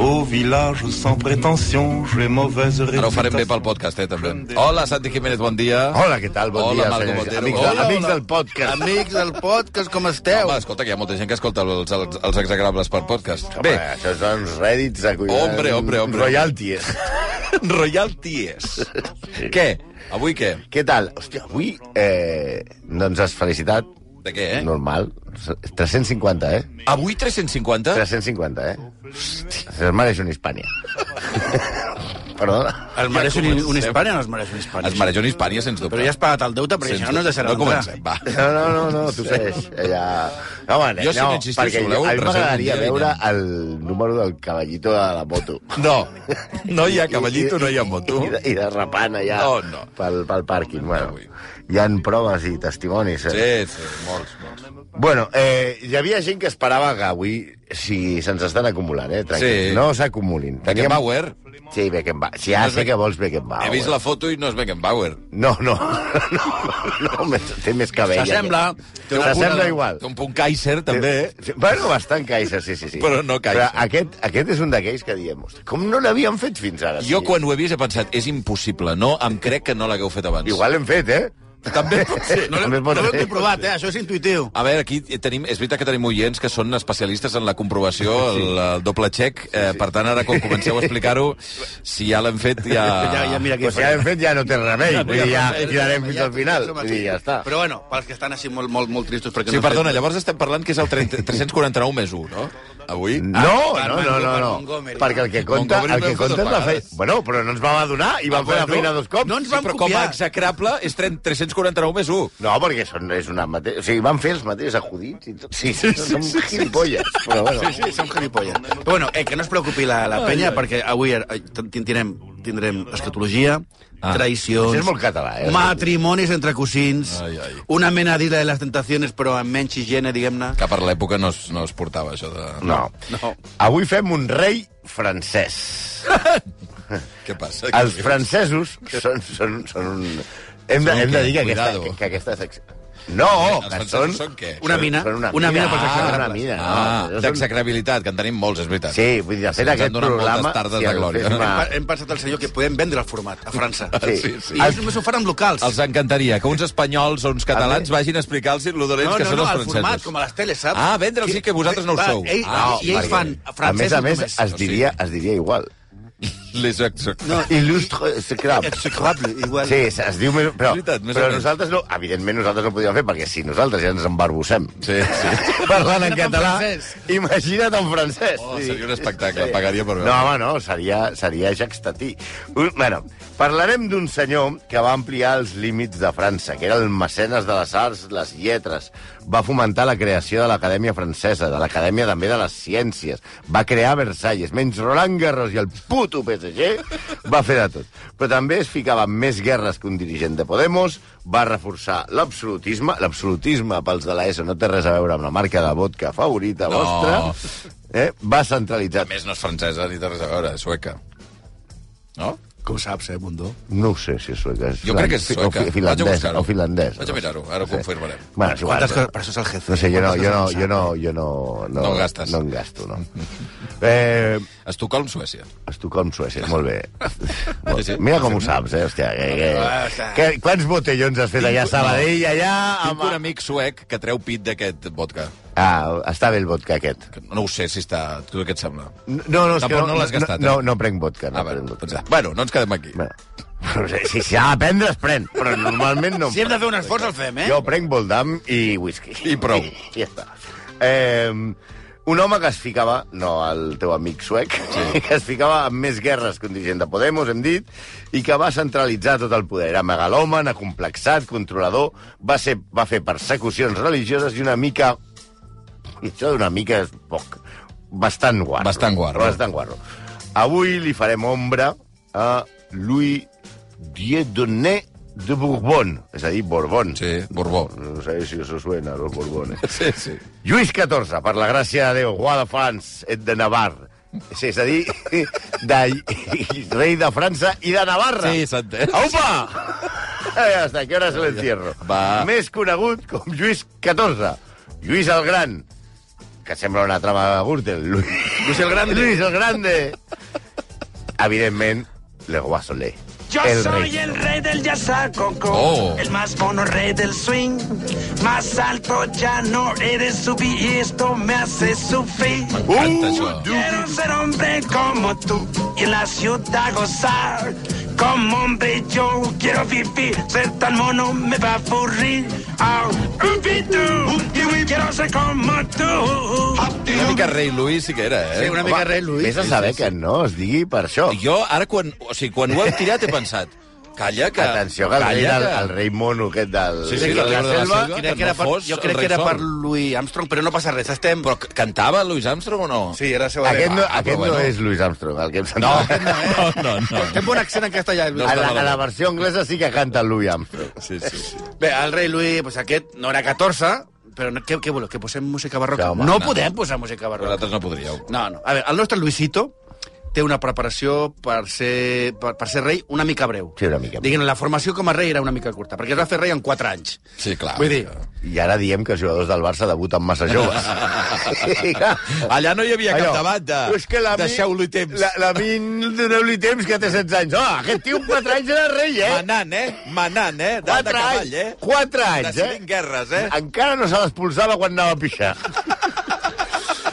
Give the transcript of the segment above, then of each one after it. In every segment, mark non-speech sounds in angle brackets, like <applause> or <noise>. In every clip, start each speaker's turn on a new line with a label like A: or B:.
A: Au village sans prétention, j'ai mauvaise
B: Ara ho farem bé
A: réputation.
B: pel podcast, eh, també. Hola, Santi Jiménez, bon dia.
C: Hola, què tal? Bon
B: Hola,
C: dia,
B: Marco
C: senyors.
B: Botero.
C: Amics,
B: Hola,
C: de,
B: hola.
C: amics del podcast.
D: Amics del podcast, com esteu?
B: Home, escolta, que hi ha molta gent que escolta els, els, els exagrables per podcast.
C: Home,
B: Bé,
C: això són uns rèdits a cuidar.
B: Hombre, hombre, hombre.
C: Royalties.
B: Royal Ties. què? Avui què?
C: què tal? Hòstia, avui eh, no ens has felicitat.
B: De què, eh?
C: Normal. 350, eh?
B: Avui 350?
C: 350, eh? Se'n mereix un Hispània. <laughs> Perdona.
D: Es mereix un,
B: comencem.
D: un Hispània o no es mereix un Hispània?
B: Es mereix un Hispània, sens dubte.
D: Però ja has pagat el deute, perquè si no no ens deixarà
B: No comencem, va.
C: No, no, no, no tu segueix. eh, Ja... No, home,
B: Jo, si
C: no,
B: no existís,
C: perquè
B: voleu,
C: a
B: reserva
C: mi
B: un
C: m'agradaria
B: dia,
C: veure
B: vine.
C: el número del cavallito de la moto.
B: No, no Oh, hi ha cavallito, no hi ha moto.
C: I, i derrapant allà
B: No, no. Ah,
C: Pel, pel pàrquing. Bueno,
B: Avui.
C: hi han proves i testimonis.
B: Sí,
C: Eh?
B: sí, molts, molts.
C: Bueno, eh, hi havia gent que esperava que avui, si se'ns estan acumulant, eh? Tranquil,
B: Sí.
C: No s'acumulin.
B: Beckenbauer.
C: Sí, Beckenbauer. Si ja
B: eh? No és
C: sé
B: Beck-
C: que vols Beckenbauer.
B: He vist la foto i no és Beckenbauer.
C: No, no, <laughs> no, no, més- té més cabell.
D: S'assembla.
C: Té una S'assembla igual.
B: Té un punt Kaiser, també, eh?
C: Sí, Bueno, bastant Kaiser, sí, sí, sí.
B: Però no Kaiser.
C: Però aquest, aquest és un d'aquells que diem, "Ostres, com no l'havíem fet fins ara?
B: Jo
C: Sí.
B: quan ho he vist he pensat, és impossible, no? Em crec que no l'hagueu fet abans.
C: Igual l'hem fet, eh?
B: També pot <laughs> ser.
D: No
C: També
D: l'he-
C: pot
D: no l'he
C: ser.
D: comprovat, eh? Això és intuïtiu.
B: A veure, aquí tenim, és veritat que tenim oients que són especialistes en la comprovació, el, el doble check, eh, per tant, ara quan comenceu a explicar-ho, <laughs> si ja l'hem fet, <laughs> ja...
D: Ah, Ja, ja, mira què
C: Pues si ja l'hem fet, ja no té
D: <laughs>
C: remei. Vull dir, ja
D: farem.
C: tirarem fins al final.
D: som
C: Vull
D: aquí.
C: dir, ja està.
D: Però bueno, pels que estan així molt, molt, molt tristos... Perquè
B: Sí,
D: no han
B: perdona,
D: fet-
B: llavors estem parlant que és el 30, 349 més 1, no? Avui?
C: No,
D: per
C: no, no,
D: Mango-
C: no,
D: per
C: no.
D: Montgomery.
C: Perquè el que compta,
B: Montgomery
C: el
B: ho hem
C: que
B: fet
C: compta és
B: dos
C: la feina.
B: vegades.
C: Bueno, però no ens vam adonar i vam fer la
B: bueno.
C: feina dos cops.
D: No ens
B: Ah, Sí,
D: vam
B: però com a
D: copiar.
B: execrable és 30, 349 més 1.
C: No, perquè són, és una mateixa... O sigui, van fer els mateixos acudits i tot. Sí, sí, sí, són sí, gilipolles, però bueno.
D: Sí, sí, som gilipolles. Però bueno, eh, que no es preocupi la, la penya, perquè avui eh, tin- tindrem, tindrem escatologia,
B: Ah.
D: ah. traicions...
C: Això és molt català, eh?
D: Matrimonis entre cosins,
B: Ai, ai.
D: una mena d'Isla de les Tentaciones, però amb menys higiene, diguem-ne.
B: Que per l'època no, es, no es portava això de...
C: No.
D: No.
C: Avui fem un rei francès.
B: Què passa?
C: Els
B: <laughs>
C: francesos són, són, són un... Hem de,
B: Són
C: hem de
B: què?
C: dir que aquesta,
B: Cuidado.
C: que, que aquesta secció... No,
B: Els
C: que
B: francesos
C: són...
B: són què?
D: Una mina.
C: Són
D: Una mina pels
C: ah,
D: exagrables.
C: una mina. no,
B: Ah,
C: però són-
B: d'execrabilitat, que en tenim molts, és veritat.
C: Sí, vull dir, de fet,
B: Se'ns han
C: aquest
B: donat moltes
C: programa...
B: tardes
C: si
B: de
C: el
B: glòria.
C: fes
D: Hem,
C: una-
D: pe- hem pensat al senyor que podem vendre el format a França.
C: Ah, Sí,
B: <laughs> Sí, sí.
C: sí.
D: I ells només ho faran locals.
B: Els encantaria que uns espanyols o uns catalans vagin a explicar-los lo dolents
D: no,
B: que
D: no,
B: són
D: no,
B: els
D: el
B: francesos.
D: format, com a les teles, saps?
B: Ah, vendre'ls sí que vosaltres no ho
D: Va,
B: sou.
D: Ell,
B: Ah,
D: I ells
C: perquè,
D: fan
C: A més
D: francesos
C: a més,
D: només.
C: es diria, es diria igual.
B: Les exec-
D: No,
C: Il·lustre secram.
D: execrable, igual.
C: Sí, es es diu més... Però,
B: Veritat, més o
C: però
B: menys.
C: nosaltres no... Evidentment, nosaltres no ho podíem fer, perquè si nosaltres ja ens embarbussem
B: Sí, sí.
C: parlant en
D: Imagina't en
C: català,
D: francès.
C: imagina't en francès.
B: Oh, seria un espectacle, pagaria per
C: No,
B: veure.
C: home, no, seria, seria Jaxtatí. Bueno, parlarem d'un senyor que va ampliar els límits de França, que era el mecenes de les arts, les lletres. Va fomentar la creació de l'Acadèmia Francesa, de l'Acadèmia també de les Ciències. Va crear Versalles, menys Roland Garros i el puto PSG, va fer de tot. Però també es ficava en més guerres que un dirigent de Podemos, va reforçar l'absolutisme. L'absolutisme, pels de l'ESO, no té res a veure amb la marca de vodka favorita
B: No.
C: vostra. Eh? Va centralitzar
B: A més, no és francesa ni té res a veure, és sueca. No?
D: Com saps, eh, Bundó?
C: No ho sé si és sueca. És
B: Jo crec que és
C: filan-
B: sueca.
C: O
B: Vaig
C: fi-
B: a
C: finlandès,
B: buscar-ho.
C: o finlandès.
B: Vaig a mirar-ho, ara ho
C: sé.
B: confirmarem.
C: Bueno, és igual.
D: Quantes coses- per això és el jefe.
C: No sé, jo no,
D: Quantes
C: jo no,
D: coses
C: jo no, jo no, no,
B: No gastes.
C: No en
B: <laughs>
C: gasto, no. Eh,
B: Estocolm, Suècia.
C: Estocolm, Suècia, molt bé.
B: <laughs>
C: Molt
B: Sí, sí.
C: bé. Mira com ho saps, eh? Hòstia, que, que,
D: Ah, està.
C: que, quants botellons has fet allà a Sabadell, allà...
B: Tinc
C: Amb...
B: un amic suec que treu pit d'aquest vodka.
C: Ah, està bé el vodka aquest.
B: Que No ho sé si està... Tu què et sembla?
C: No, no, és que
B: Tampoc no l'has gastat, eh?
C: No, no, prenc vodka. No
B: Ah, bueno,
C: prenc
B: doncs,
C: vodka.
B: ja. bueno, no ens quedem aquí.
C: <laughs> Bueno, si si s'ha de prendre, es pren, però normalment no. em
D: Si hem de fer un esforç, el fem, eh?
C: Jo prenc Voldam i whisky.
B: I prou.
C: I <laughs> ja està. Eh, un home que es ficava, no el teu amic suec, sí. <laughs> que es ficava amb més guerres que un dirigent de Podemos, hem dit, i que va centralitzar tot el poder. Era megalòman, acomplexat, controlador, va, ser, va fer persecucions religioses i una mica... I això d'una mica és poc. Bastant guarro.
B: Bastant guarro.
C: Bastant guarro. Avui li farem ombra a Louis Dieudonné de Bourbon, és a dir, Borbon.
B: Sí, Borbó.
C: No sé si eso suena, los borbones.
B: Sí, sí.
C: Lluís XIV, per la gràcia de Déu, Guà de France, et de Navarre, Sí, és a dir, <laughs> de rei de França i de Navarra.
B: Sí, s'ha entès.
C: Aupa! Hasta aquí ahora se lo encierro.
B: Va.
C: Més conegut com Lluís XIV. Lluís el Gran, que sembla una trama de Gürtel. Lu- Lluís el Grande. Lluís el Grande. Evidentment, Le Roi Soleil.
E: Yo
C: el
E: soy
C: rei.
E: el rey del jazz a coco,
B: Oh.
E: el más mono rey del swing, más alto ya no eres subir y esto me hace sufrir.
B: M'encanta,
C: Uh!
B: això.
E: Quiero ser hombre como tú y en la ciudad gozar. Como hombre yo quiero vivir, ser tan mono me va a aburrir. Ah, upi, tú, upi, upi, quiero ser como tú.
B: Una mica rei Lluís sí que era, eh?
D: Sí, una mica rei, Lluís.
C: Vés a saber que no es digui per això.
B: I Jo ara, quan, o sigui, quan ho hem tirat, he pensat... Calla, que...
C: Atenció, que el rei,
B: calla,
C: el,
B: que-
C: el rei mono aquest del...
B: Sí, sí, del
C: la
B: Rebre de la
C: selva.
B: Selva.
D: crec que era
B: no
D: per,
B: fos
D: jo
B: el
D: crec
B: rei
D: que era
B: sol.
D: per Louis Armstrong, però no passa res, estem...
B: Però cantava Louis Armstrong o no?
D: Sí, era la seva
C: Aquest no,
D: veu.
B: Ah, però
C: aquest
B: bueno.
C: no és Louis Armstrong, el que em
B: <laughs> No,
C: sembla.
B: no, no. no.
D: Té un bon accent en castellà, Lluís.
B: Ah. No
C: a,
B: està
C: la, a la
B: malament.
C: versió anglesa sí que canta el Louis Armstrong.
B: Sí, sí, sí.
D: Bé, el rei Lluís, pues, aquest no era 14, però no, què, què voleu, que posem música barroca?
C: Ja, home,
D: no,
C: no.
D: podem posar música barroca.
B: Vosaltres no podríeu.
D: No, no. A veure, el nostre Luisito té una preparació per ser, per, per ser rei una mica breu.
C: Sí, una mica.
D: Diguem, la formació com a rei era una mica curta, perquè es va fer rei en 4 anys.
B: Sí, clar.
D: Vull dir,
C: I ara diem que els jugadors del Barça debuten massa joves.
B: <laughs> Allà no hi havia cap
C: Allò,
B: debat de...
C: és que la mi-
B: Deixeu-li temps.
C: La, la min, doneu-li temps, que té 16 anys. Oh, aquest tio amb 4 anys era rei, eh?
B: Manant, eh? Manant, eh? Dalt de
C: 4
B: cavall, eh?
C: anys. 4 anys,
B: Decidint
C: eh?
B: guerres, eh?
C: Encara no se l'expulsava quan anava a pixar.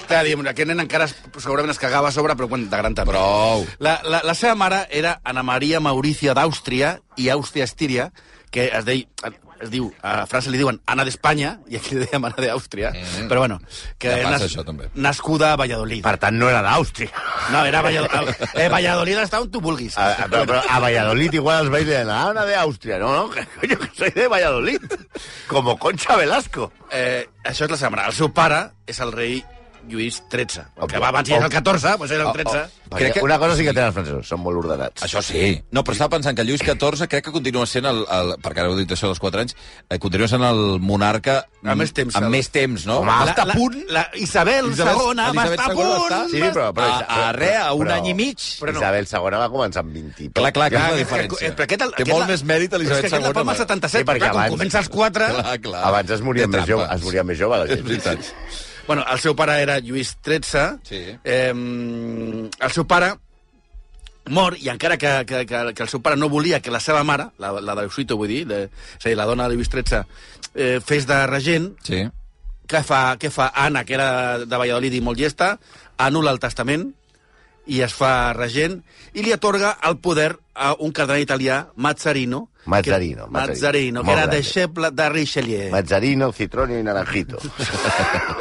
D: clar, diguem, aquest nen encara es, segurament es cagava a sobre, però quan de gran també.
B: Prou.
D: La, la, la seva mare era Anna Maria Mauricia d'Àustria i Àustria-Estíria, que es, dei, es diu, a França li diuen Anna d'Espanya, i aquí li dèiem Anna d'Àustria, mm. però bueno, que
B: Ja passa això, també.
D: nascuda a Valladolid.
C: Per tant, no era d'Àustria.
D: No, era Valladolid. Eh, Valladolid està on tu vulguis.
C: A, a, ah, però, però a Valladolid igual els veïns deien, ah, una d'Àustria. No, no, que coño, que soy de Valladolid. Como Concha Velasco.
D: Eh, això és la seva mare. El seu pare és el rei Lluís XIII, que va abans
C: Oh.
D: era el 14, doncs era el 13.
C: Perquè
B: Crec que-
C: Una cosa sí que tenen els francesos, són molt ordenats.
B: Això sí. No, però estava pensant que Lluís XIV crec que continua sent el... el perquè ara heu dit això dels 4 anys, eh, continua sent el monarca...
D: Amb més temps,
B: Amb
D: el-
B: més temps, no?
C: Home,
D: la, la, la Isabel,
B: Isabel-
D: II va
B: Elisabet
D: estar a
B: II va
D: punt.
B: estar-
C: Sí, però... però
B: A- a re, a un any i mig.
C: Però no. Isabel II va començar amb 20 i
B: Clar, clar, que és
D: Clar,
B: la
D: que-
B: diferència.
D: que- Però aquest, el-
B: Té
D: aquest
B: molt
D: la-
B: més mèrit
D: però
B: Elisabet
D: És que aquest la fa amb el
B: II.
D: 77,
C: Sí,
D: sí,
C: perquè
D: perquè quan
C: abans-
D: comença els 4...
B: Clar, clar.
C: Abans es moria,
B: Té
C: més jove,
B: trampes.
C: es moria més jove, la
B: És
C: gent.
B: veritat.
D: Bueno, el seu pare era Lluís XIII.
B: Sí.
D: Eh, el seu pare mor, i encara que, que, que, que el seu pare no volia que la seva mare, la, la de Luisito, vull dir, de, és a dir, la dona de Lluís XIII, eh, fes de regent,
B: Sí.
D: què fa, què fa Anna, que era de Valladolid i molt llesta, anul·la el testament i es fa regent i li atorga el poder a un cardenal italià, Mazzarino.
C: Mazzarino, Mazzarino.
D: Que, Mazzarino, que
C: Molt
D: era
C: grande.
D: deixeble de Richelieu.
C: Mazzarino, Citronio i Naranjito.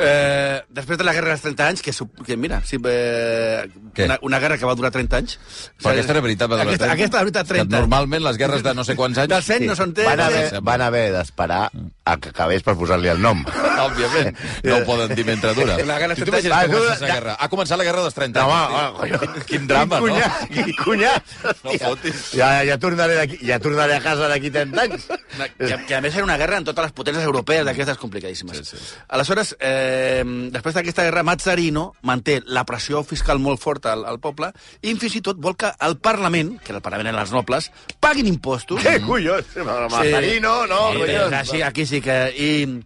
D: Eh, després de la guerra dels 30 anys, que, sup- que mira, sí, eh,
B: Què?
D: una, una guerra que va durar 30 anys.
B: Però aquesta era veritat, va durar
D: Aquesta,
B: 30.
D: aquesta era veritat, 30
B: Que normalment les guerres de no sé quants anys...
D: Del 100 no són 30.
C: Van haver,
B: sembla.
C: van haver d'esperar a que acabés per posar-li el nom.
B: Òbviament, no ho poden dir mentre dura.
D: La guerra
B: Si
D: dels
B: t'imagines
C: trenta-
B: que comença
C: Va,
B: la guerra. Ha començat la guerra dels 30 anys.
C: No, va, va, coño.
B: Quin drama,
C: quin
B: no?
C: cunyat, Quin cunyat.
B: No
C: hòstia.
B: fotis.
C: Ja, ja tornaré, d'aquí- ja tornaré a casa d'aquí 30 anys.
D: Una- Que, que a més era una guerra en totes les potències europees d'aquestes complicadíssimes. Sí, sí. Aleshores, eh, després d'aquesta guerra, Mazzarino manté la pressió fiscal molt forta al, al poble i fins i tot vol que el Parlament, que el Parlament eren els nobles, paguin impostos.
C: Què, collons? Mazzarino, no,
D: Sí,
C: collons.
D: doncs així, aquí sí que... I,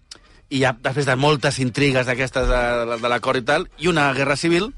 D: i ja, després de moltes intrigues d'aquestes de, de l'acord i tal, i una guerra civil,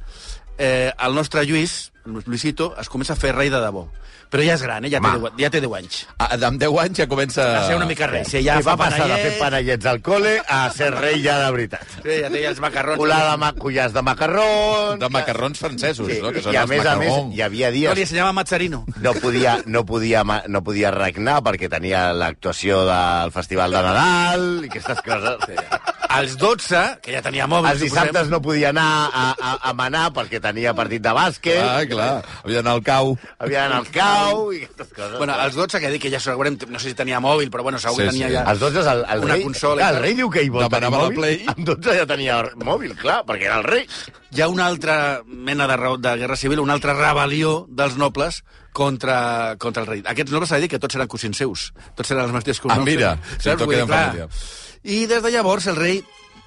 D: eh, el nostre Lluís, Luisito, es comença a fer rei de debò. Però ja és gran, eh? ja, té
C: Home.
D: 10, ja té 10 anys.
B: Ah, Amb 10 anys ja comença...
D: Va ser una mica rei. Sí, ja
C: I va
D: fa
C: passar de fer
D: panellets.
C: panellets al col·le a ser rei ja de veritat.
D: Sí, ja té els macarrons.
C: Colar de ma... collars de macarrons...
B: De macarrons francesos,
C: Sí,
B: no? Que són
C: I a
B: els
C: més a més,
B: macarons.
C: hi havia
D: No, li
C: dies...
D: ensenyava Mazzarino.
C: No podia, no, podia, ma- no podia regnar perquè tenia l'actuació del Festival de Nadal i aquestes coses.
D: Als 12, que ja tenia mòbil,
C: Els dissabtes no podia anar a, a, a manar perquè tenia partit de bàsquet,
B: Ah, clar. Havia d'anar al cau.
C: havia d'anar al cau i aquestes coses.
D: Bueno, als 12, que dic que ja segurament, no sé si tenia mòbil, però bueno, segur que
B: Sí,
D: tenia
B: sí.
D: ja...
C: els 12 el, el
D: Una
C: rei...
D: consola i
C: clar, el
D: tal.
C: rei diu que hi vol tenir
B: Demanava la
C: mòbil.
B: Play.
C: Amb 12 ja tenia mòbil, clar, perquè era el rei.
D: Hi ha una altra mena de, raó- de guerra civil, una altra rebel·lió dels nobles contra, contra el rei. Aquests nobles s'ha de dir que tots eren cosins
C: Ah,
D: seus. Tots eren els mateixos cognoms.
B: mira,
D: seus.
B: sí,
D: Saps?
B: tot
D: Vull dir,
B: queda en
D: clar.
B: família.
D: I des de llavors el rei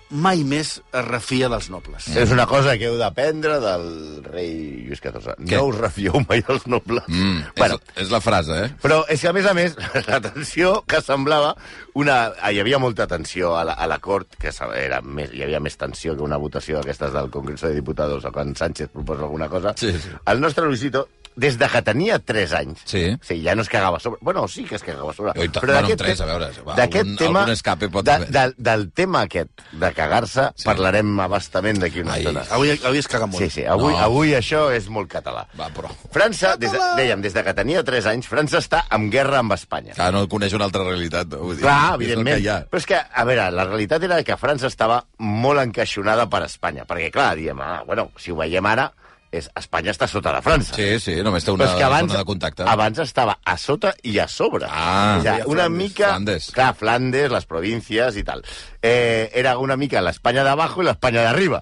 D: mai més es refia dels nobles.
C: És una cosa que heu d'aprendre del rei Lluís XIV.
B: Què?
C: No us refieu mai als nobles.
B: Mm,
C: bueno,
B: és, és la frase, eh?
C: Però és que, a més a més, <laughs> la tensió que semblava... Una... ah, Hi havia molta tensió a la, a la cort, que se- era més, hi havia més tensió que una votació d'aquestes del Congrés de Diputados o quan Sánchez proposa alguna cosa.
B: Sí, sí.
C: El nostre Luisito, des de que tenia 3 anys...
B: Sí.
C: sí ja no es cagava a sobre. Bueno, sí que es cagava a sobre.
B: Oi, tant. Bueno,
C: d'aquest
B: tres,
C: te-
B: a veure, va,
C: d'aquest
B: algun- algun escape pot
C: de,
B: haver.
C: del, del tema aquest de cagar-se, sí. parlarem abastament d'aquí una
B: Ai,
C: estona.
D: Avui, avui es caga molt.
C: Sí, sí, avui,
B: No.
C: no. avui això és molt català.
B: Va, però...
C: França, des de, dèiem, des de que tenia 3 anys, França està en guerra amb Espanya.
B: Ah, no coneix una altra realitat. no? Vull dir,
C: Clar,
B: és el que
C: evidentment.
B: hi ha.
C: Però és que, a veure, la realitat era que França estava molt encaixonada per Espanya. Perquè, clar, diem, ah, bueno, si ho veiem ara, és, Espanya està sota de França.
B: Sí, sí, només té
C: Però
B: una
C: és que abans,
B: zona de contacte.
C: abans estava a sota i a sobre.
B: Ah.
C: o sigui, una mica...
B: Flandes.
C: Clar, Flandes, les províncies i tal. Eh, era una mica l'Espanya d'abajo i l'Espanya d'arriba.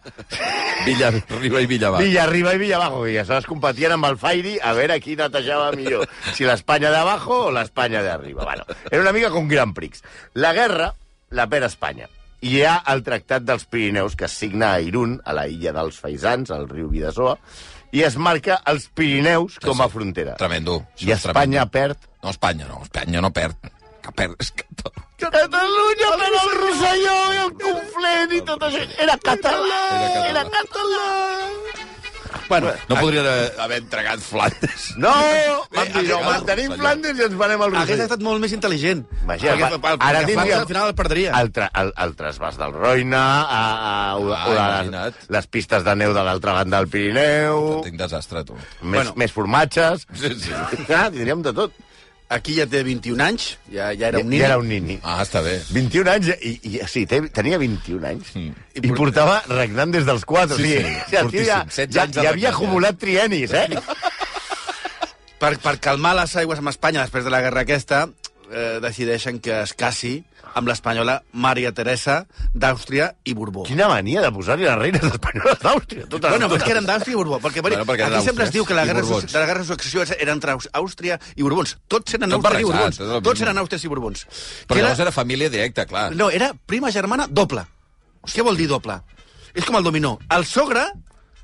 B: Villa, Riba i Villa Baix.
C: Villa arriba i Villa abajo. I aleshores competien amb el Fairy a veure qui netejava millor. Si l'Espanya d'abajo o l'Espanya d'arriba. Bueno, era una mica com Gran Prix. La guerra la perd Espanya. I hi ha el Tractat dels Pirineus que es signa a Irún, a la illa dels Faisans, al riu Vidasoa, i es marca els Pirineus com a frontera.
B: Tremendo. Això
C: I
B: és tremendo.
C: Espanya perd...
B: No, Espanya no. Espanya no perd. Que perd és Catalunya.
C: Catalunya per el Rosselló i el Conflent i tot això. Era català,
B: Era
C: era català.
D: Bueno,
B: No podria haver- haver entregat Flandes.
C: No, vam dir, no,
B: aquest-
C: mantenim
B: Rosselló.
C: Flandes i ens venem al
D: hauria
C: Rosselló.
D: estat molt més intel·ligent.
C: Vaja,
D: perquè,
C: va-
D: perquè
C: ara
D: França
C: tindria-
D: al final el perdria.
C: El, tra el, el trasbàs del Roina, a, a, o,
B: Ah,
C: o la,
B: imagina't.
C: les pistes de neu de l'altra banda del Pirineu, més,
B: Tinc desastre, tu.
C: bueno. més formatges...
B: Ah, Sí,
C: <laughs>
B: sí.
C: Ah, tindríem de tot.
D: Aquí ja té 21 anys, ja, ja era
C: Ja,
D: un nin.
C: ja era un nini.
B: Ah, està bé.
C: 21 anys, i, i sí, te, tenia 21 anys,
B: Mm.
C: i, portava regnant des dels 4.
B: Sí,
C: o sigui,
B: sí,
C: o sigui, el tio ja,
B: fortíssim, setze
C: ja,
B: anys de
C: ja havia
B: regnant, ja.
C: acumulat trienis, eh?
B: <laughs>
D: Per, per calmar les aigües amb Espanya després de la guerra aquesta, eh, decideixen que es casi amb l'espanyola Maria Teresa d'Àustria i Borbó.
C: Quina mania de posar-hi les reines espanyoles d'Àustria. totes
D: Bueno,
C: les-
D: però és que eren d'Àustria i Borbó. Perquè, bueno,
B: Bueno, perquè
D: perquè
B: eren
D: aquí sempre
B: àustries
D: es diu que la
B: i
D: guerra,
B: borbons.
D: de la guerra de successió era entre Aus- Àustria i Borbons. Tots eren
B: Tot
D: Àustria i
B: barrejat,
D: Borbons.
B: és el
D: Tots
B: mismo.
D: eren Àustries i Borbons.
B: Però
D: Que
B: llavors era família directa, clar.
D: Ah. No, era prima germana doble. Què vol dir doble? És com el dominó. El sogre,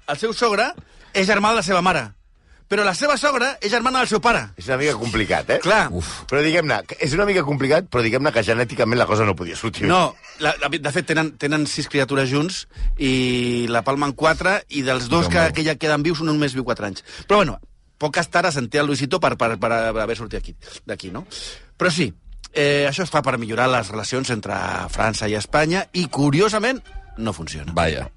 D: el seu sogre, és germà de la seva mare. Però la seva sogra és germana del seu pare.
C: És una mica complicat, eh?
D: Clar.
B: Uf.
C: Però diguem-ne, que és una mica complicat, però diguem-ne que genèticament la cosa no podia sortir. bé.
D: No, la, la, de fet, tenen, tenen sis criatures junts i la palmen quatre i dels dos que, que ja queden vius, un només viu quatre anys. Però, bueno, poques tares en té el Luisito per, per, per haver sortit aquí- d'aquí, no? Però sí, eh, això es fa per millorar les relacions entre França i Espanya i, curiosament, no funciona.
B: Vaja.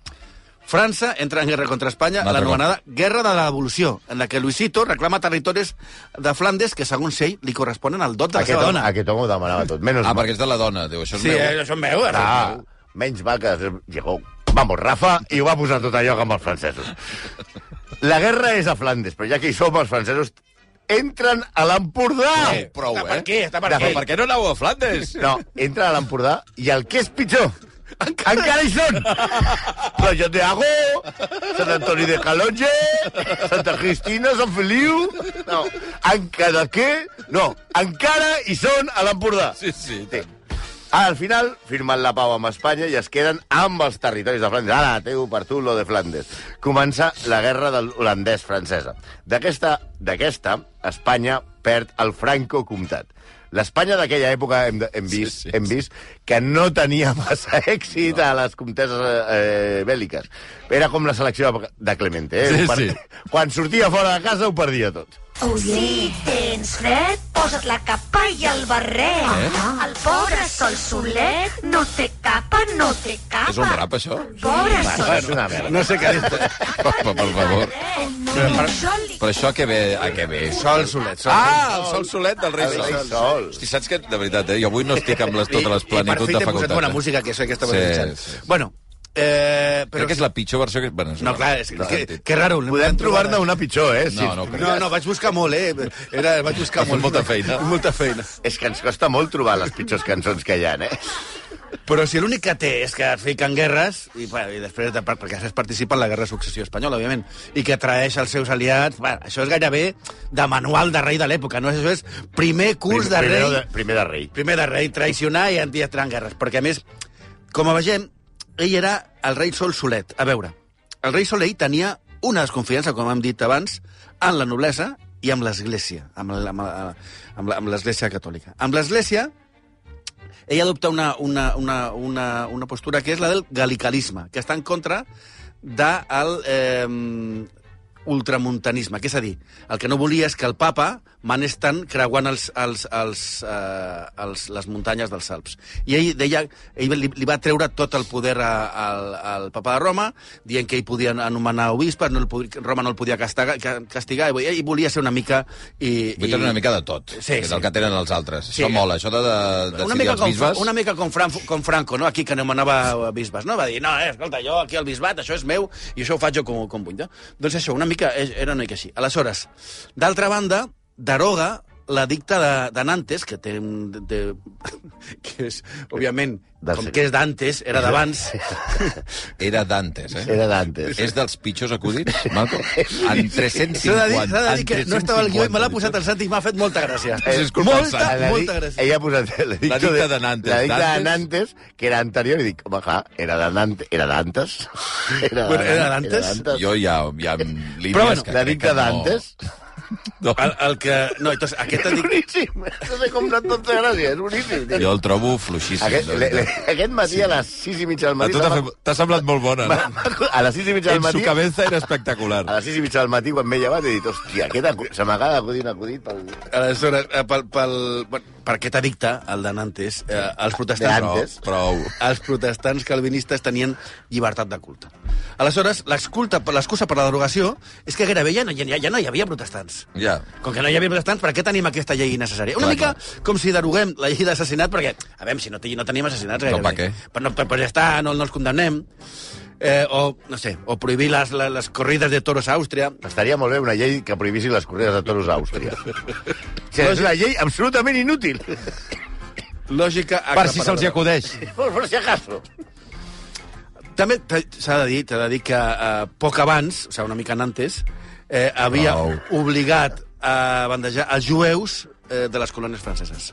D: França entra en guerra contra Espanya,
B: Un altre
D: l'anomenada Guerra de la Devolució, en la que Luisito reclama territoris de Flandes que, segons ell, li corresponen al dot de la
C: Aquest,
D: seva
C: home,
D: dona.
C: aquest home ho demanava tot. Menos
B: Ah,
C: mal.
B: perquè és de la dona. Diu, això és
D: Sí,
B: meu.
D: eh, això em veu, ara.
C: Ah, menys mal que després llegó. Vamos, Rafa, i ho va posar tot allò amb els francesos. La guerra és a Flandes, però ja que hi som, els francesos entren a l'Empordà!
B: Eh, prou, eh?
D: Està Ah, per aquí, està per
B: De-
D: aquí.
B: Per què no aneu a Flandes?
C: No, entren a l'Empordà i el que és pitjor, encara, encara hi són! Playa de Agó, Sant Antoni de Calonge, Santa Cristina, Sant Feliu... No, encara què? No, encara hi són a l'Empordà.
B: Sí, sí. i
C: Sí.
B: tant.
C: Al final, firmen la pau amb Espanya i es queden amb els territoris de Flandes. Ara, teu, per tu, lo de Flandes. Comença la guerra de l'holandès-francesa. D'aquesta, d'aquesta, Espanya perd el Franco Comtat. L'Espanya d'aquella època hem, de- hem,
B: Sí,
C: vist,
B: sí,
C: hem vist que no tenia massa <laughs> èxit a les comteses eh, bèl·liques. Era com la selecció de- de Clemente. Eh?
B: Sí,
C: Ho per-
B: sí.
C: <laughs> Quan sortia fora de casa ho perdia tot.
F: Oh, sí, tens fred? Posa't la capa i el barret.
B: Eh?
F: El pobre sol solet no té capa, no té capa.
B: És un rap, això? <laughs>
F: Pobre sol
C: És una merda.
D: No sé què és.
B: Per, per favor.
F: solet. Sol li
B: Però això a què ve? A què ve?
D: Sol Solet. Sol.
B: Ah, el sol solet del rei
C: El rei
B: Sol.
C: Sol.
B: Hosti, saps que, de veritat, eh? Jo avui no estic amb les, totes les plenitud
D: I, i per fi
B: de
D: t'he posat bona
B: facultat. eh?
D: música, que és aquesta
B: Sí,
D: sí,
B: sí,
D: sí,
B: sí.
D: Bueno, eh, però...
B: Crec que és la pitjor versió que... Bueno,
D: No, clar, és,
B: no,
D: és que,
B: no,
D: que raro. l'hem
C: Podem
D: trobat,
C: trobar-ne una pitjor, eh?
B: No, no,
D: No, no, vaig buscar molt, eh? Era, vaig buscar
B: Has fet
D: molt.
B: molta feina.
D: <laughs> Molta feina.
C: És que ens costa molt trobar les pitjors cançons que hi ha, eh?
D: Però si l'únic que té és que es fiquen guerres, i, bueno, i després, de, perquè després participa en la Guerra de Successió Espanyola, òbviament, i que traeix els seus aliats, bueno, això és gairebé de manual de rei de l'època, no? Això és primer curs de
C: Primer
D: rei...
C: de, primer de rei.
D: Primer de rei, traicionar i entrar en guerres. Perquè, a més, com a vegem, ell era el rei Sol Solet. A veure, el rei Soleil tenia una desconfiança, com hem dit abans, en la noblesa i amb l'Església, amb la- amb la- amb la- amb l'Església catòlica. Amb l'Església, ell adopta una, una, una, una, una postura que és la del galicalisme, que està en contra del eh, ultramuntanisme. Que és a dir, el que no volia és que el papa manés tant creuant els, els, els, eh, els, les muntanyes dels Alps. I ell, deia, ell li, li va treure tot el poder a, al, al papa de Roma, dient que ell podia anomenar obispes, no el, pod- Roma no el podia castigar, ca- castigar i, ell volia ser una mica... I,
B: Vull
D: i-
B: tenir una mica de tot, sí, que és
D: sí.
B: el que tenen els altres.
D: Sí.
B: Sí. Això mola, això de, de, de
D: una mica,
B: els
D: com,
B: bisbes...
D: una mica com, Fran, com Franco, no? aquí que anomenava bisbes. No? Va dir, no, eh, escolta, jo aquí al bisbat, això és meu, i això ho faig jo com, com vull. No? Doncs això, una mica, eh, era una mica així. Aleshores, d'altra banda, deroga la dicta de, de Nantes, que té un... De, <laughs> que és, òbviament,
C: Del
D: com
C: segle.
D: que és d'antes, era d'abans,
B: Era d'antes, eh?
C: Era d'antes.
B: És dels pitjors acudits, Malco? En 350...
D: s'ha de dir, s'ha de dir
B: en
D: que no estava al guió i me l'ha
B: 350.
D: posat el Santi i m'ha fet molta
C: <laughs>
D: gràcia.
B: És culpa del
D: molta,
B: Santi.
C: La dic-
D: molta gràcia.
C: Ella ha posat la dicta,
B: dicta de Nantes.
C: La dicta de
B: Nantes.
C: Nantes, que era anterior, i dic, home, clar, era de Nantes. Era d'antes?
B: <laughs>
C: Era,
D: Bueno, era d'antes?
B: Jo ja, ja amb línies
D: Però bueno,
B: que
C: La
B: crec
C: dicta
B: que no-
C: d'antes?
B: <laughs> No,
D: El, el que... No, entonces, aquesta
C: És
D: dic...
C: boníssim. No sé com no et tot gràcia, és boníssim.
B: jo el trobo fluixíssim.
C: Aquest,
B: de
C: le, le,
B: veritat.
C: aquest matí a les 6 i mitja del
B: A
C: matí...
B: tu t'ha fet- t'ha semblat molt bona,
C: Va-
B: no?
C: va- <laughs> A les 6 i mitja del
B: En su
C: matí...
B: cabeza era espectacular.
C: A <laughs> les 6 i mitja del matí, quan m'he llevat, he dit, hòstia, aquest acu- se m'acaba d'acudit un acudit pel...
D: Aleshores, eh, pel, pel, per, per aquest edicte, el de Nantes, eh, els protestants...
C: De Nantes.
B: Prou.
D: Els protestants calvinistes tenien llibertat de culte. Aleshores, l'exculta- l'excusa per la derogació és que gairebé ja no, ja, ja no hi havia protestants.
B: Ja.
D: Com que no hi havia protestants, per què tenim aquesta llei necessària? Una
B: Clar,
D: mica com si deroguem la llei d'assassinat, perquè, a veure, si no, te- no tenim assassinats
B: No,
D: gairebé.
B: Doncs pa què?
D: Però, no, però, però ja està, no, no els condemnem. Eh, o, no sé, o prohibir les, les, les corrides de toros a Àustria.
C: Estaria molt bé una llei que prohibissin les corrides de toros a <laughs> Àustria. Sí, és una llei absolutament inútil.
D: Lògica...
B: Per si se'ls hi
D: aclaparadora.
B: acudeix.
C: Por, por si acaso.
D: També t'ha- s'ha de dir, t'ha de dir que eh, poc abans, o sigui, una mica antes, eh, havia
B: Au.
D: obligat a bandejar els jueus eh, de les colònies franceses.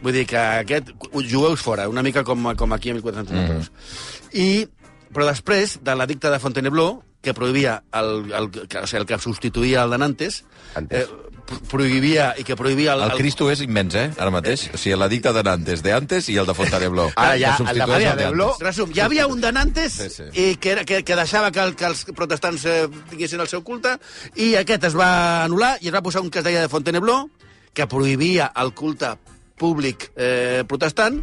D: Vull dir que aquest... Jueus fora, una mica com, com aquí a 1492. Mm. I, però després de la dicta de Fontainebleau, que prohibia el, el, que, o sigui, el que substituïa el de Nantes, eh,
C: Antes.
D: pro- prohibia i que prohibia el,
B: El Cristo és immens, eh, ara mateix. O sigui, la dicta de Nantes, de antes, i el de Fontainebleau.
C: Ara
B: Que
C: ja, el de
B: substitueix
C: Maria
B: d'antes.
C: de Blo-
D: Doncs Resum, hi havia un de Nantes sí,
B: Sí,
D: sí.
B: sí.
D: I que, era, que, que deixava que, el, que els protestants eh, tinguessin el seu culte i aquest es va anul·lar i es va posar un que es deia de Fontainebleau que prohibia el culte públic eh, protestant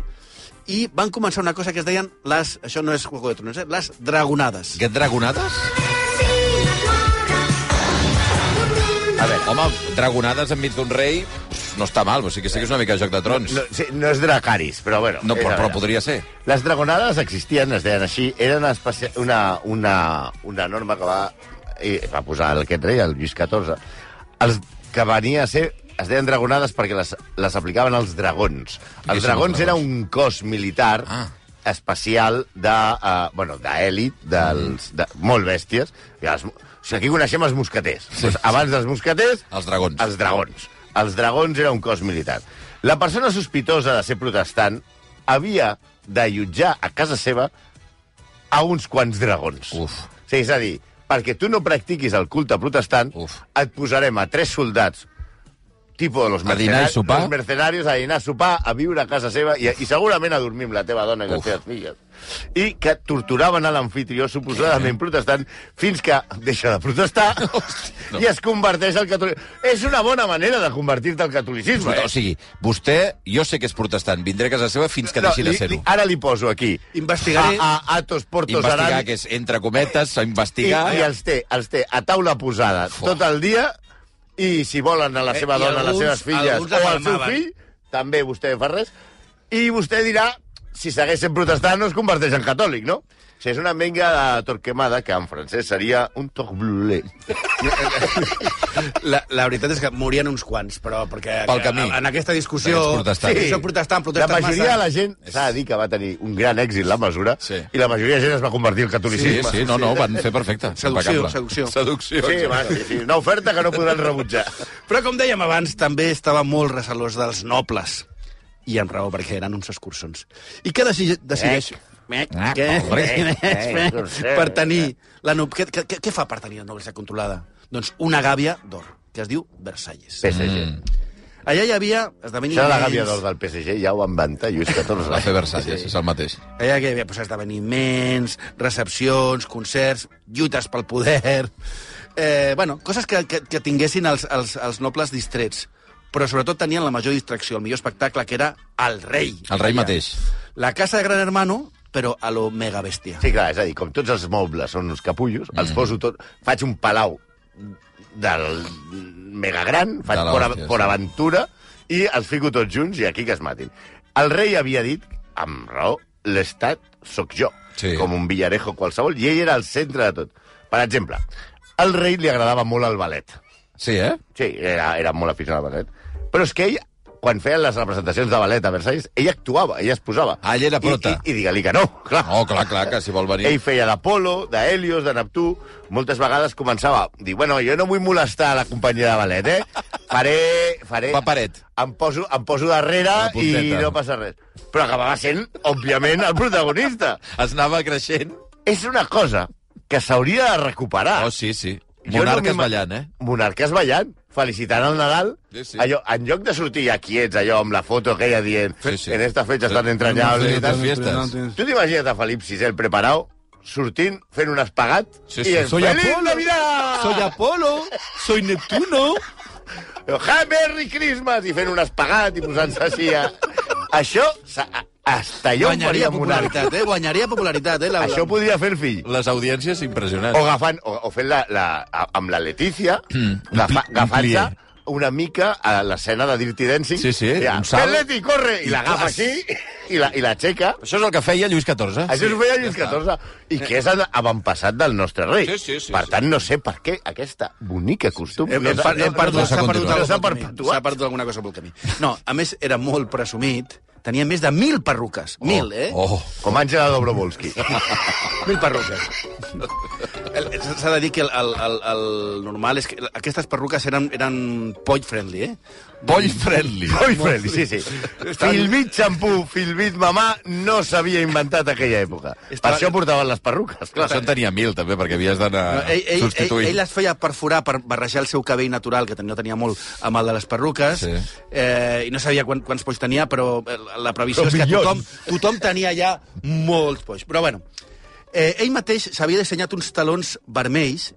D: i van començar una cosa que es deien les, això no és Juego de Tronos, eh, les dragonades.
B: Aquest dragonades?
C: A veure,
B: Home, dragonades enmig d'un rei pff, no està mal, o sigui que sí que és una mica Joc de Trons.
C: no,
B: No,
C: sí, no és Dracaris, però bueno.
B: no
C: és
B: però,
C: a
B: però
C: veure.
B: podria ser.
C: Les dragonades existien, es deien així, era una, espècie, una, una, una norma que va, eh, va posar el, aquest rei, el Lluís XIV, els, que venia a ser es deien dragonades perquè les, les aplicaven als dragons.
B: són
C: Els
B: els
C: dragons era
B: dragons?
C: un cos militar ah.
B: Ah.
C: especial de, uh, bueno, d'èlit, dels... De, molt bèsties. I els, o sigui, aquí coneixem els mosqueters. Sí, doncs abans dels mosqueters...
B: Els dragons.
C: Els dragons. Els dragons era un cos militar. La persona sospitosa de ser protestant havia d'allotjar a casa seva a uns quants dragons.
B: Uf.
C: Sí, és a dir, perquè tu no practiquis el culte protestant,
B: Uf.
C: et posarem a tres soldats tipus los,
B: A dinar i
C: mercenari-
B: sopar?
C: los mercenarios a dinar, a sopar, a viure a casa seva i, i segurament a dormir amb la teva dona i les
B: Uf.
C: teves filles. I que torturaven a l'anfitrió suposadament protestant fins que deixa de protestar
B: <laughs> No.
C: i es converteix al catolicisme. És una bona manera de convertir-te al catolicisme. eh?
B: O sigui, vostè, jo sé que és protestant, vindré a casa seva fins que deixi
C: li- ah,
B: de ser-ho.
C: li- Ara li poso aquí.
D: Investigaré.
C: A, a Atos Portos
B: Investigar,
C: Aran.
B: que és entre cometes,
C: I,
B: investigar...
C: I els té, els té a taula posada Fuà. tot el dia i si volen a la
D: Eh,
C: seva
D: i
C: dona,
D: alguns-
C: a les seves
D: alguns
C: filles
D: la
C: o al seu
D: palmaven.
C: fill, també vostè fa res, i vostè dirà si segueix sent protestant no es converteix en catòlic, no? O sigui, és una menga de torquemada que en francès seria un torblulé.
D: La, la veritat és que morien uns quants, però perquè
B: Pel camí.
D: en aquesta discussió...
B: Perquè ets protestant.
D: Sí. Soc protestant,
C: La
D: protestant
C: majoria
D: massa.
C: de la gent s'ha de dir que va tenir un gran èxit la mesura
B: Sí.
C: i la majoria de gent es va convertir al
B: Sí,
C: catolicisme.
B: sí, no, no, van fer
C: <laughs>
B: perfecte.
D: Seducció,
B: impecable.
D: seducció.
B: Seducció.
C: sí,
B: exacte.
C: va, sí, sí. Una oferta que no podran rebutjar.
D: Però, com dèiem abans, també estava molt recelós dels nobles. I amb raó, perquè eren uns escursons. I què deci decideix... Eh?
B: Ah,
D: Què? <laughs>
B: correcte.
C: Eh, eh,
D: per tenir... La no... què, què, què fa per tenir la noblesa controlada? Doncs una gàbia d'or, que es diu Versalles.
C: PSG.
D: Allà hi havia
C: Això de la gàbia
D: esdeveniments...
C: d'or del PSG ja ho van vantar Lluís XIV.
B: Va fer Versalles, és el mateix.
D: Allà que hi havia pues, esdeveniments, recepcions, concerts, lluites pel poder... Eh, bueno, coses que, que, que tinguessin els, els, els nobles distrets. Però sobretot tenien la major distracció, el millor espectacle, que era el rei.
B: El rei
D: Allà.
B: mateix.
D: La casa de Gran Hermano, però a lo mega bèstia.
C: Sí, clar, és a dir, com tots els mobles són uns capullos, els
B: Mm.
C: poso tot... Faig un palau del mega gran, faig
B: De la
C: por,
B: hòstia,
C: por
B: sí.
C: aventura, i els fico tots junts i aquí que es matin. El rei havia dit, amb raó, l'estat sóc jo,
B: Sí.
C: com un villarejo qualsevol, i ell era el centre de tot. Per exemple, al rei li agradava molt el ballet.
B: Sí, eh?
C: Sí, era, era molt aficionat al ballet. Però és que ell, quan feien les representacions de ballet a Versalles, ell actuava, ell es posava.
B: Ah, ell era prota.
C: I, i, i digue-li que no, <laughs> clar.
B: Oh, clar, clar, que si vol venir...
C: Ell feia d'Apolo, d'Helios, de Neptú... Moltes vegades començava... Dir, bueno, jo no vull molestar la companyia de ballet, eh? Faré... faré
B: Paperet.
C: Em poso, em poso darrere
B: La punteta.
C: i no passa res. Però acabava sent, òbviament, el protagonista.
B: Es anava creixent.
C: És una cosa que s'hauria de recuperar.
B: Oh, sí, sí.
C: Ah. Jo
B: Monarques
C: m'ima-
B: ballant, eh?
C: Monarques ballant, felicitant el Nadal.
B: Sí, sí.
C: Allò, en lloc de sortir a quiets, allò, amb la foto aquella dient
B: Sí, sí.
C: en esta fecha estan
B: Sí,
C: entranyables i
B: les
C: tal.
B: fiestes.
C: Tu t'imagines a Felip VI, el preparat, sortint, fent un espagat,
B: Sí,
C: i
B: sí.
C: en
B: Soy
C: Feliz
B: Apolo.
C: Navidad!
D: Apolo, soy Neptuno.
C: Happy Merry Christmas! I fent un espagat i posant-se així a... Això, s'ha- a- hasta allò on
D: Guanyaria
C: faria monarca.
D: popularitat, eh? Guanyaria popularitat, eh? La, la...
C: Això podria fer el fill.
B: Les audiències impressionants.
C: O, agafant, o, o fent la, la, a- amb la Letícia,
B: <clears throat> un
C: agafa-
B: pli- un
C: agafant-se
B: plié.
C: una mica a l'escena de Dirty Dancing.
B: Sí, sí,
C: Ja,
B: un salt.
C: "Ven, Leti, corre! I l'agafa
B: Clas.
C: aquí i la, i la aixeca.
B: Això és el que feia Lluís XIV.
C: Això s'ho feia Lluís
B: ja està.
C: XIV. I que és el avantpassat del nostre rei.
B: Sí, sí, sí,
C: per
B: sí.
C: tant, no sé per què aquesta bonica costum...
D: Hem, hem,
C: no,
D: per- hem perdut,
B: no s'ha
D: s'ha
B: continuat.
D: perdut, alguna
C: No s'ha
D: cosa pel camí.
C: perpetuat.
D: S'ha perdut alguna cosa pel camí. No, a més, era molt presumit. Tenia més de mil perruques. Mil, eh?
B: Oh,
C: Com Àngela Dobrovolski.
D: Mil perruques. El- S'ha de dir que el, el, el, el normal és que aquestes perruques eren, eren poll-friendly, eh?
B: boy friendly.
C: Oi, Feli, sí, sí. Filbit xampú, Filbit mamà, no s'havia inventat aquella època. Per
D: Estava-
C: això portaven les perruques, clar.
B: Això en tenia mil, també, perquè havies d'anar
D: No, ell, ell, ell,
B: substituint.
D: ell les feia perforar per barrejar el seu cabell natural, que no tenia molt amb el de les perruques,
B: Sí.
D: sí. eh, i no sabia quant, quants polls tenia, però eh, la previsió
C: Però
D: és que
C: milions.
D: tothom, tothom tenia ja molts polls. Però bueno, eh, ell mateix s'havia dissenyat uns talons vermells,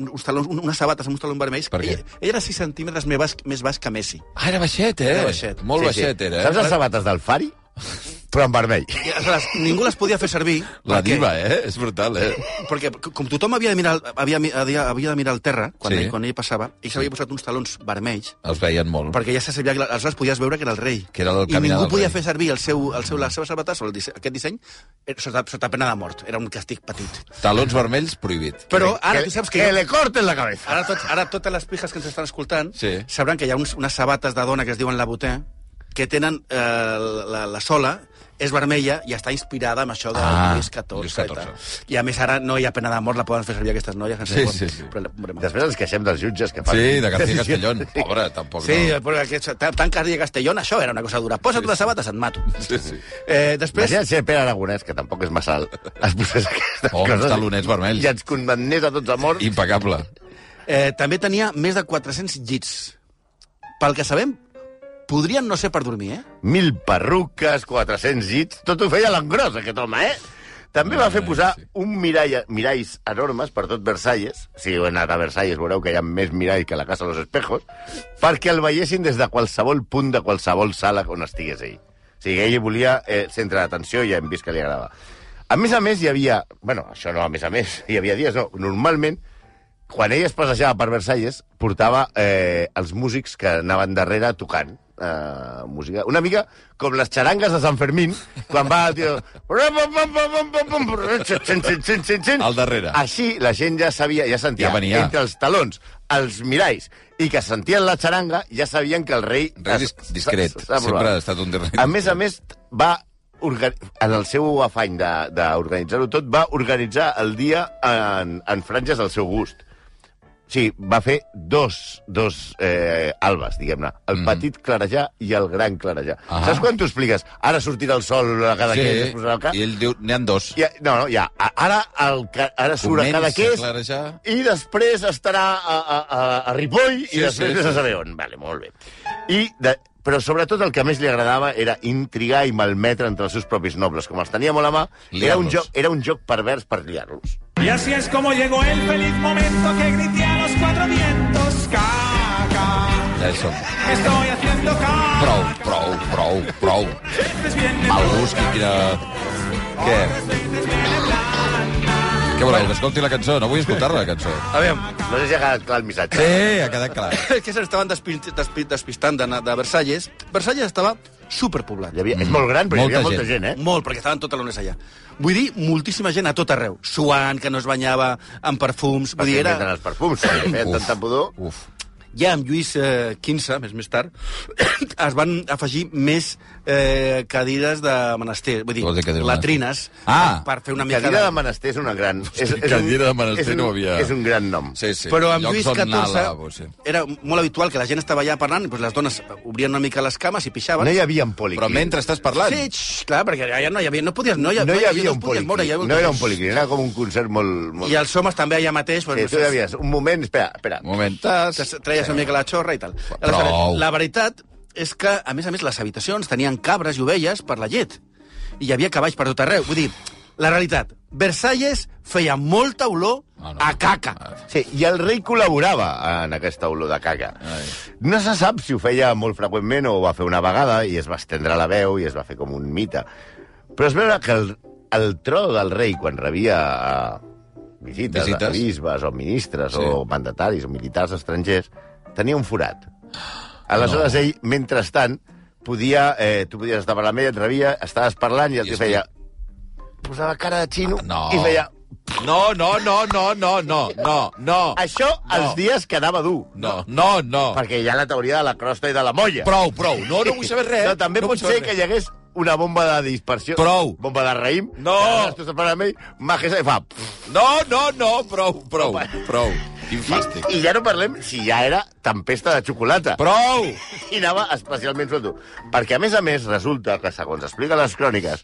D: un- uns talons, un- unes sabates amb uns talons vermells.
B: Per què?
D: Ell, ell era 6 centímetres més baix, més baix que Messi.
B: Ah, era baixet, eh?
D: Era baixet.
B: Molt
C: Sí, sí.
B: baixet, era.
C: Saps
B: Eh?
C: les sabates del Fari? Però en vermell.
D: I Les, ningú les podia fer servir.
B: La
D: perquè-
B: diva, eh? És brutal, eh?
D: perquè c- com tothom havia de mirar, havia, havia, havia de mirar el terra quan,
B: Sí.
D: sí. ell, quan ell passava, ell s'havia posat uns talons vermells
B: Els veien molt.
D: perquè ja se sabia que aleshores podies veure que era el rei.
B: Que era el
D: I
B: caminar
D: ningú
B: del
D: podia
B: rei.
D: fer servir el seu, el seu, la seva sabates o el disseny, aquest disseny eh, sota, sota pena de mort. Era un castig petit.
B: Talons vermells, prohibit.
D: Però ara tu saps que...
C: Que le corten la cabeza.
D: Ara, tot, ara totes les pijas que ens estan escoltant
B: Sí.
D: sabran que hi ha uns, unes sabates de dona que es diuen la botè que tenen eh, la, la sola és vermella i està inspirada amb això de
B: Ah,
D: Lluís XIV.
B: Lluís
D: i tal. I a més ara no hi ha pena de mort, la poden fer servir aquestes noies. que ens
B: Sí,
D: diuen,
B: sí, sí.
D: Però, hombre,
C: Després ens queixem dels jutges que fan...
B: Sí, de García
C: <laughs>
B: Castellón. Pobre, tampoc
D: Sí, eh,
B: no.
D: però aquest, tan, tan Cardi Castellón, això era una cosa dura. Posa't unes sabates, et mato.
B: Sí, sí.
D: Eh, després...
C: Imagina't ser Pere Aragonès, que tampoc és massa alt. Es posés aquestes
B: Oh, uns
C: coses
B: talonets vermells.
C: I ens condemnés a tots a mort. I...
B: Impecable.
D: Eh, també tenia més de 400 llits. Pel que sabem, podrien no ser per dormir, eh?
C: Mil perruques, 400 llits... Tot ho feia l'engròs, aquest home, eh? També va fer
B: Ai,
C: posar
B: sí.
C: un mirall, miralls enormes per tot Versalles. Si heu anat a Versalles veureu que hi ha més mirall que a la Casa dels Espejos, perquè el veiessin des de qualsevol punt de qualsevol sala on estigués ell. O sigui, ell volia eh, centre d'atenció i ja hem vist que li agradava. A més a més, hi havia... bueno, això no, a més a més, hi havia dies, no. Normalment, quan ell es passejava per Versalles, portava eh, els músics que anaven darrere tocant eh, música. Una mica com les xarangues de Sant Fermín, quan va el tio...
B: Al darrere.
C: Així la gent ja sabia, ja sentia,
B: Ja venia.
C: entre els talons, els miralls, i que sentien la xaranga, ja sabien que el rei...
B: Rei dis- discret.
C: s'ha- s'ha aprovat.
B: Sempre ha estat un rei
C: A més a
B: discret.
C: més, va orga- en el seu afany de- d'organitzar-ho tot, va organitzar el dia en, en franges al seu gust. O Sí, va fer dos, dos eh, albes, diguem-ne. El mm. petit clarejar i el gran clarejar.
B: Ah.
C: Ah. Saps quan t'ho expliques? Ara sortirà el sol a cada sí. que es posarà el cap?
B: I ell diu, n'hi han dos.
C: Ja, no, no, ja. A- Ara, el, ca- ara surt a
B: Comença
C: cada
B: a clarejar.
C: i després estarà a, a, a, a Ripoll
B: Sí,
C: sí, i després
B: sí,
C: sí,
B: sí.
C: a saber on. Vale, molt bé. I de, però sobretot el que més li agradava era intrigar i malmetre entre els seus propis nobles. Com els tenia molt a mà, era un,
B: Liar-los.
C: joc, era un joc pervers per liar-los.
G: Y así es como llegó el feliz momento que grité a los cuatro vientos. Caca,
B: Això.
G: estoy haciendo caca.
B: Prou, prou, prou, prou.
G: Veces viene
B: Mal gust,
G: blanca,
B: qui- quina... Què?
G: veces viene blanca.
B: Què voleu, que escolti la cançó? No vull escoltar-la, la cançó.
D: A veure,
C: No sé si ha quedat clar el missatge.
B: Sí, ha quedat clar.
D: és <coughs> que s'estaven despi- despi- despistant de, de Versalles. Versalles estava superpoblat.
C: Hi havia, És molt gran, però hi havia
B: Molta
C: molta gent,
D: Eh?
C: eh?
D: Molt, perquè estaven tot l'ones allà. Vull dir, moltíssima gent a tot arreu. Suant, que no es banyava, amb perfums... Vull dir,
C: Perquè
D: era
C: era... els perfums, perquè feien tanta pudor.
B: Uf.
D: ja amb Lluís eh, XV, més més tard, <coughs> es van afegir més eh, cadires de menester, vull dir,
B: Vols dir cadira de
D: latrines,
B: Ah!
D: per fer una mica
C: Cadira de Menester és una gran... És, és
B: cadira de menester
C: és un,
B: no havia-
C: És un gran nom.
B: Sí, sí.
D: Però amb
B: Llocs
D: Lluís
B: on
D: XIV
B: anar al lavabo, sí.
D: era molt habitual que la gent estava allà parlant i doncs les dones obrien una mica les cames i pixaven.
C: No hi havia un poliquí.
B: Però mentre estàs parlant...
D: Sí, xx, clar, perquè allà no hi havia... No, podies, no, hi,
C: No hi havia
D: no
C: un
D: es podies
C: poliquí.
D: moure, hi havia un
C: No era un poliquí, era com un concert molt... molt...
D: I els homes també allà mateix... Doncs,
C: Sí, tu hi havies un moment... Espera, espera.
B: Un moment.
D: Te Treies una mica la xorra i tal.
B: Prou.
D: Aleshores, La veritat és que, a més a més, les habitacions tenien cabres i ovelles per la llet. I hi havia cavalls per tot arreu. Vull dir, la realitat, Versalles feia molta olor
B: Ah, no.
D: a caca.
C: Sí, i el rei col·laborava en aquesta olor de caca. No se sap si ho feia molt freqüentment o ho va fer una vegada i es va estendre la veu i es va fer com un mite. Però es veure que el, el tro del rei, quan rebia eh,
B: Visites.
C: visites, visites. de bisbes o ministres
B: Sí.
C: sí. o mandataris o militars estrangers, tenia un forat.
B: Ah,
C: Aleshores, no. ell, mentrestant, podia, eh, tu podies estar parlant amb ell, et rebia, estaves parlant i el
B: I
C: tio
B: es-
C: feia... Posava cara de xino
B: Ah, no.
C: i feia...
B: No, no, no, no, no, no, no, no.
C: Això no. els dies quedava dur.
B: No, no, no.
C: Perquè hi ha la teoria de la crosta i de la molla.
B: Prou, prou. No, no vull saber res.
C: No, també
B: no
C: pot
B: vull saber
C: ser que hi hagués una bomba de dispersió.
B: Prou.
C: Bomba de raïm.
B: No.
C: Tu estàs parlant amb ell, majes i fa... pff.
B: No, no, no, prou, prou, prou. Quin fàstic.
C: I ja no parlem si ja era tempesta de xocolata.
B: Prou!
C: I anava especialment suelto. Perquè, a més a més, resulta que, segons explica les cròniques,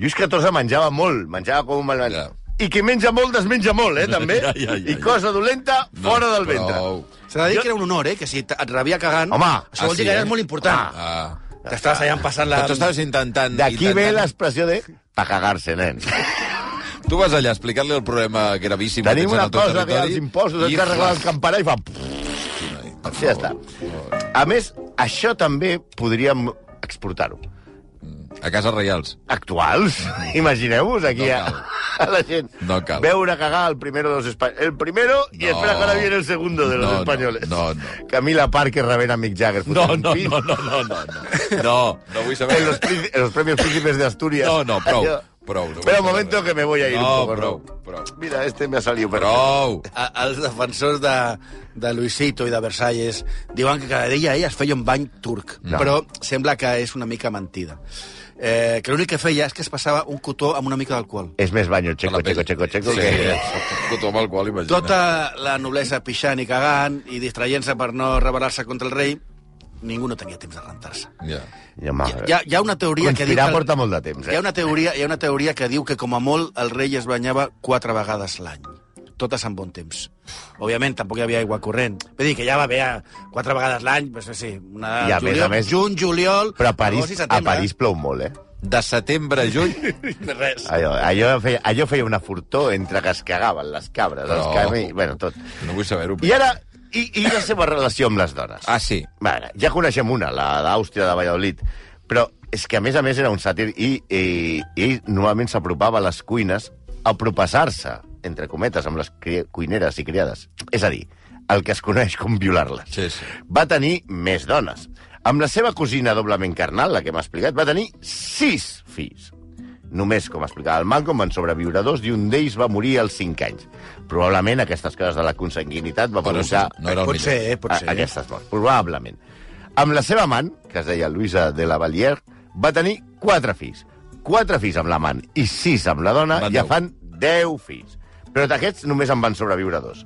C: Lluís XIV menjava molt, menjava com un malvent.
B: Ja.
C: I qui menja molt, desmenja molt, eh, també.
B: <laughs> Ja, ja, ja,
C: I
B: ja.
C: cosa dolenta,
B: No,
C: fora del ventre.
B: prou.
D: S'ha de dir que era un honor, eh? Que si et rebia cagant...
C: Home,
D: això vol
B: ah,
D: dir
B: sí,
D: que
B: eh?
D: eres molt important.
B: Ah.
D: T'estaves allà passant la...
B: Però tu estaves intentant...
C: D'aquí ve
B: intentant-
C: l'expressió de... Pa cagar-se, nens.
B: Tu vas allà a explicar-li el problema gravíssim que
C: Tenim
B: tens en
C: una
B: el teu
C: cosa que
B: territori.
C: els impostos, hem
B: I-
C: d'arreglar el campanar i fan... Sí, ja està. A més, això també podríem exportar-ho.
B: A Casa Reials.
C: Actuals, <laughs> imagineu-vos aquí
B: No
C: a,
B: cal.
C: a la gent.
B: No cal.
C: Veure cagar el primero de los españoles. El primero y
B: No.
C: espera que ahora viene el segundo de los
B: No, no,
C: españoles.
B: no, no.
C: Camila Parker rebent a Mick Jagger.
B: No,
C: fotent
B: no,
C: pit
B: no, no, no, no. No, no, no vull saber
C: En los, prín- en los premios príncipes de Asturias.
B: No, no, prou,
C: Allò.
B: prou. No vull
C: Espera un
B: saber
C: momento
B: res.
C: que me voy a ir
B: No,
C: un poco.
B: prou, prou.
C: Mira, este me ha salido. perfecto.
B: Prou!
D: A, els defensors de, de Luisito i de Versalles diuen que cada dia ell es feia un bany turc, Mm. no. però sembla que és una mica mentida. Eh, que l'únic que feia és que es passava un cotó amb una mica d'alcohol.
C: És més baño, checo, checo, checo, checo,
B: Sí,
C: que...
B: que... Tothom al qual imagina.
D: Tota la noblesa pixant i cagant i distraient-se per no rebel·lar-se contra el rei, ningú no tenia temps de rentar-se.
B: Ja.
C: Ja,
D: Hi, hi ha, hi ha una teoria que diu...
C: Ah, Conspirar
D: que-
C: porta molt de temps, eh?
D: Hi ha, una teoria, hi ha una teoria que diu que, com a molt, el rei es banyava quatre vegades l'any. Totes en bon temps. Òbviament, tampoc hi havia aigua corrent. Vull dir que ja va haver eh, quatre vegades l'any, doncs, no sé, una
C: I a més a més-
D: juny, juliol...
C: Però a
D: agost i
C: París, a
D: setembre.
C: París Ah, plou molt, eh?
B: De setembre a juny...
D: <laughs> Res.
C: Allò, allò, feia, allò feia una furtó entre que es cagaven les cabres, no.
B: No.
C: els camells... Bueno, tot.
B: No vull saber-ho.
C: I ara, i, i la seva relació amb les dones?
B: Ah, sí.
C: Bueno, ja coneixem una, la d'Àustria de Valladolid, però és que, a més a més, era un sàtir i, i, i ell normalment s'apropava a les cuines a propasar-se, entre cometes, amb les cri- cuineres i criades. És a dir, el que es coneix com violar-les.
B: Sí, sí.
C: Va tenir més dones. Amb la seva cosina doblement carnal, la que hem explicat, va tenir sis fills. Només, com explicava el Malcolm, van sobreviure dos i un d'ells va morir als 5 anys. Probablement aquestes coses de la consanguinitat va
B: Però
C: provocar...
B: no era el
D: Pot ser,
B: millor.
D: eh? Pot
C: A-
D: ser.
C: Aquestes morts, probablement. Amb la seva amant, que es deia Luisa de la Vallière, va tenir quatre fills. Quatre fills amb l'amant i sis amb la dona,
B: Van
C: ja
B: deu.
C: fan deu fills. Però d'aquests només en van sobreviure dos.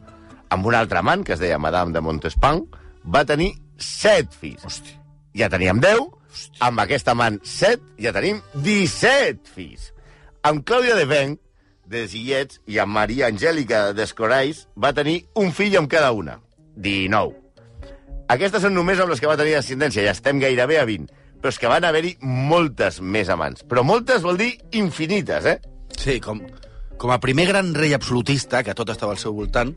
C: amb un altre amant, que es deia Madame de Montespan, va tenir set fills. Hosti. Ja teníem 10, Hosti. amb aquesta amant 7, ja tenim 17 fills. Amb Clàudia de Venc, de Sillets, i amb Maria Angèlica d'Escorais, va tenir un fill amb cada una. 19. Aquestes són només amb les que va tenir descendència, ja estem gairebé a 20. Però és que van haver-hi moltes més amants. Però moltes vol dir infinites, eh?
D: Sí, com, com a primer gran rei absolutista, que tot estava al seu voltant,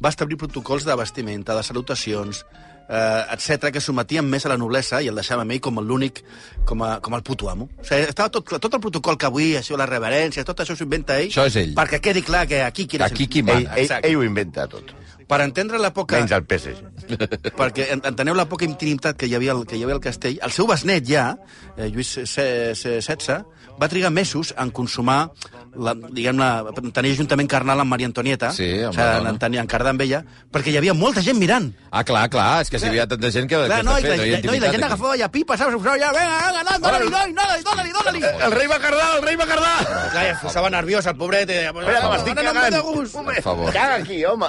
D: va establir protocols de vestimenta, de salutacions, eh, etc que sometien més a la noblesa i el deixaven a ell com l'únic, com, a, com el puto amo. O sigui, estava tot, clar, tot el protocol que avui, això, la reverència, tot això s'ho inventa ell,
B: Això és ell.
D: perquè quedi clar que aquí qui és
B: Aquí
D: el-
B: qui
C: Ell,
B: mana.
C: ell,
D: Exacte.
C: ell ho inventa tot.
D: Per entendre l'època...
C: Menys el PSG.
D: perquè en- enteneu la poca intimitat que hi havia al, que hi havia al castell, el seu besnet ja, eh, Lluís se- se- XVI, va trigar mesos en consumar la, diguem-ne, en tenir juntament carnal amb Maria Antonieta,
B: Sí, amb la
D: o sigui,
B: dona.
D: en, tenir, en cardar amb ella, perquè hi havia molta gent mirant.
B: Ah, clar, clar, és que si hi havia tanta gent que...
D: Clar,
B: que
D: no, i,
B: està
D: la,
B: fet, Eh, hi ha
D: la, no, i la
B: intimitat eh?
D: gent
B: aquí.
D: agafava ja pipa, saps? Ja, venga, venga, no, dóna-li, dóna-li, dóna-li, dóna-li, dóna-li.
B: Eh,
C: El rei va cardar, el rei va cardar!
D: Clar, ja es posava nerviós, el pobret. Eh,
C: Espera, que m'estic
D: no, no, no,
C: cagant.
D: de gust.
C: Home,
B: favor.
C: Caga aquí, home.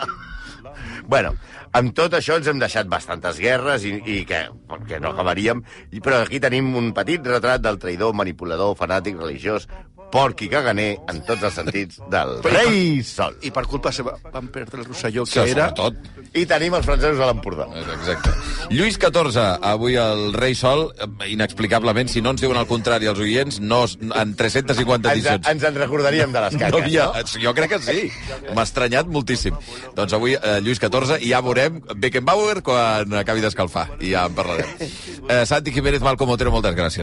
C: Bueno, amb tot això ens hem deixat bastantes guerres i, i que, perquè no acabaríem, I- però aquí tenim un petit retrat del traïdor, manipulador, fanàtic, religiós, porc i caganer, en tots els sentits, del rei sol.
D: I per culpa seva van perdre el Rosselló, que
B: Sí,
D: era...
B: sobretot. eh,
C: I tenim els francesos a l'Empordà.
B: Exacte. Lluís XIV, avui el rei Sol, eh, inexplicablement, si no ens diuen el contrari els oients, no, es- en 350
C: Ens,
B: edicions.
C: ens en recordaríem de les caques,
B: No havia,
C: no?
B: jo crec que sí. M'ha estranyat moltíssim. Doncs avui, eh, Lluís XIV, i ja veurem Beckenbauer quan acabi d'escalfar. I ja en parlarem. Eh, Santi Jiménez, Malcom Otero, moltes gràcies.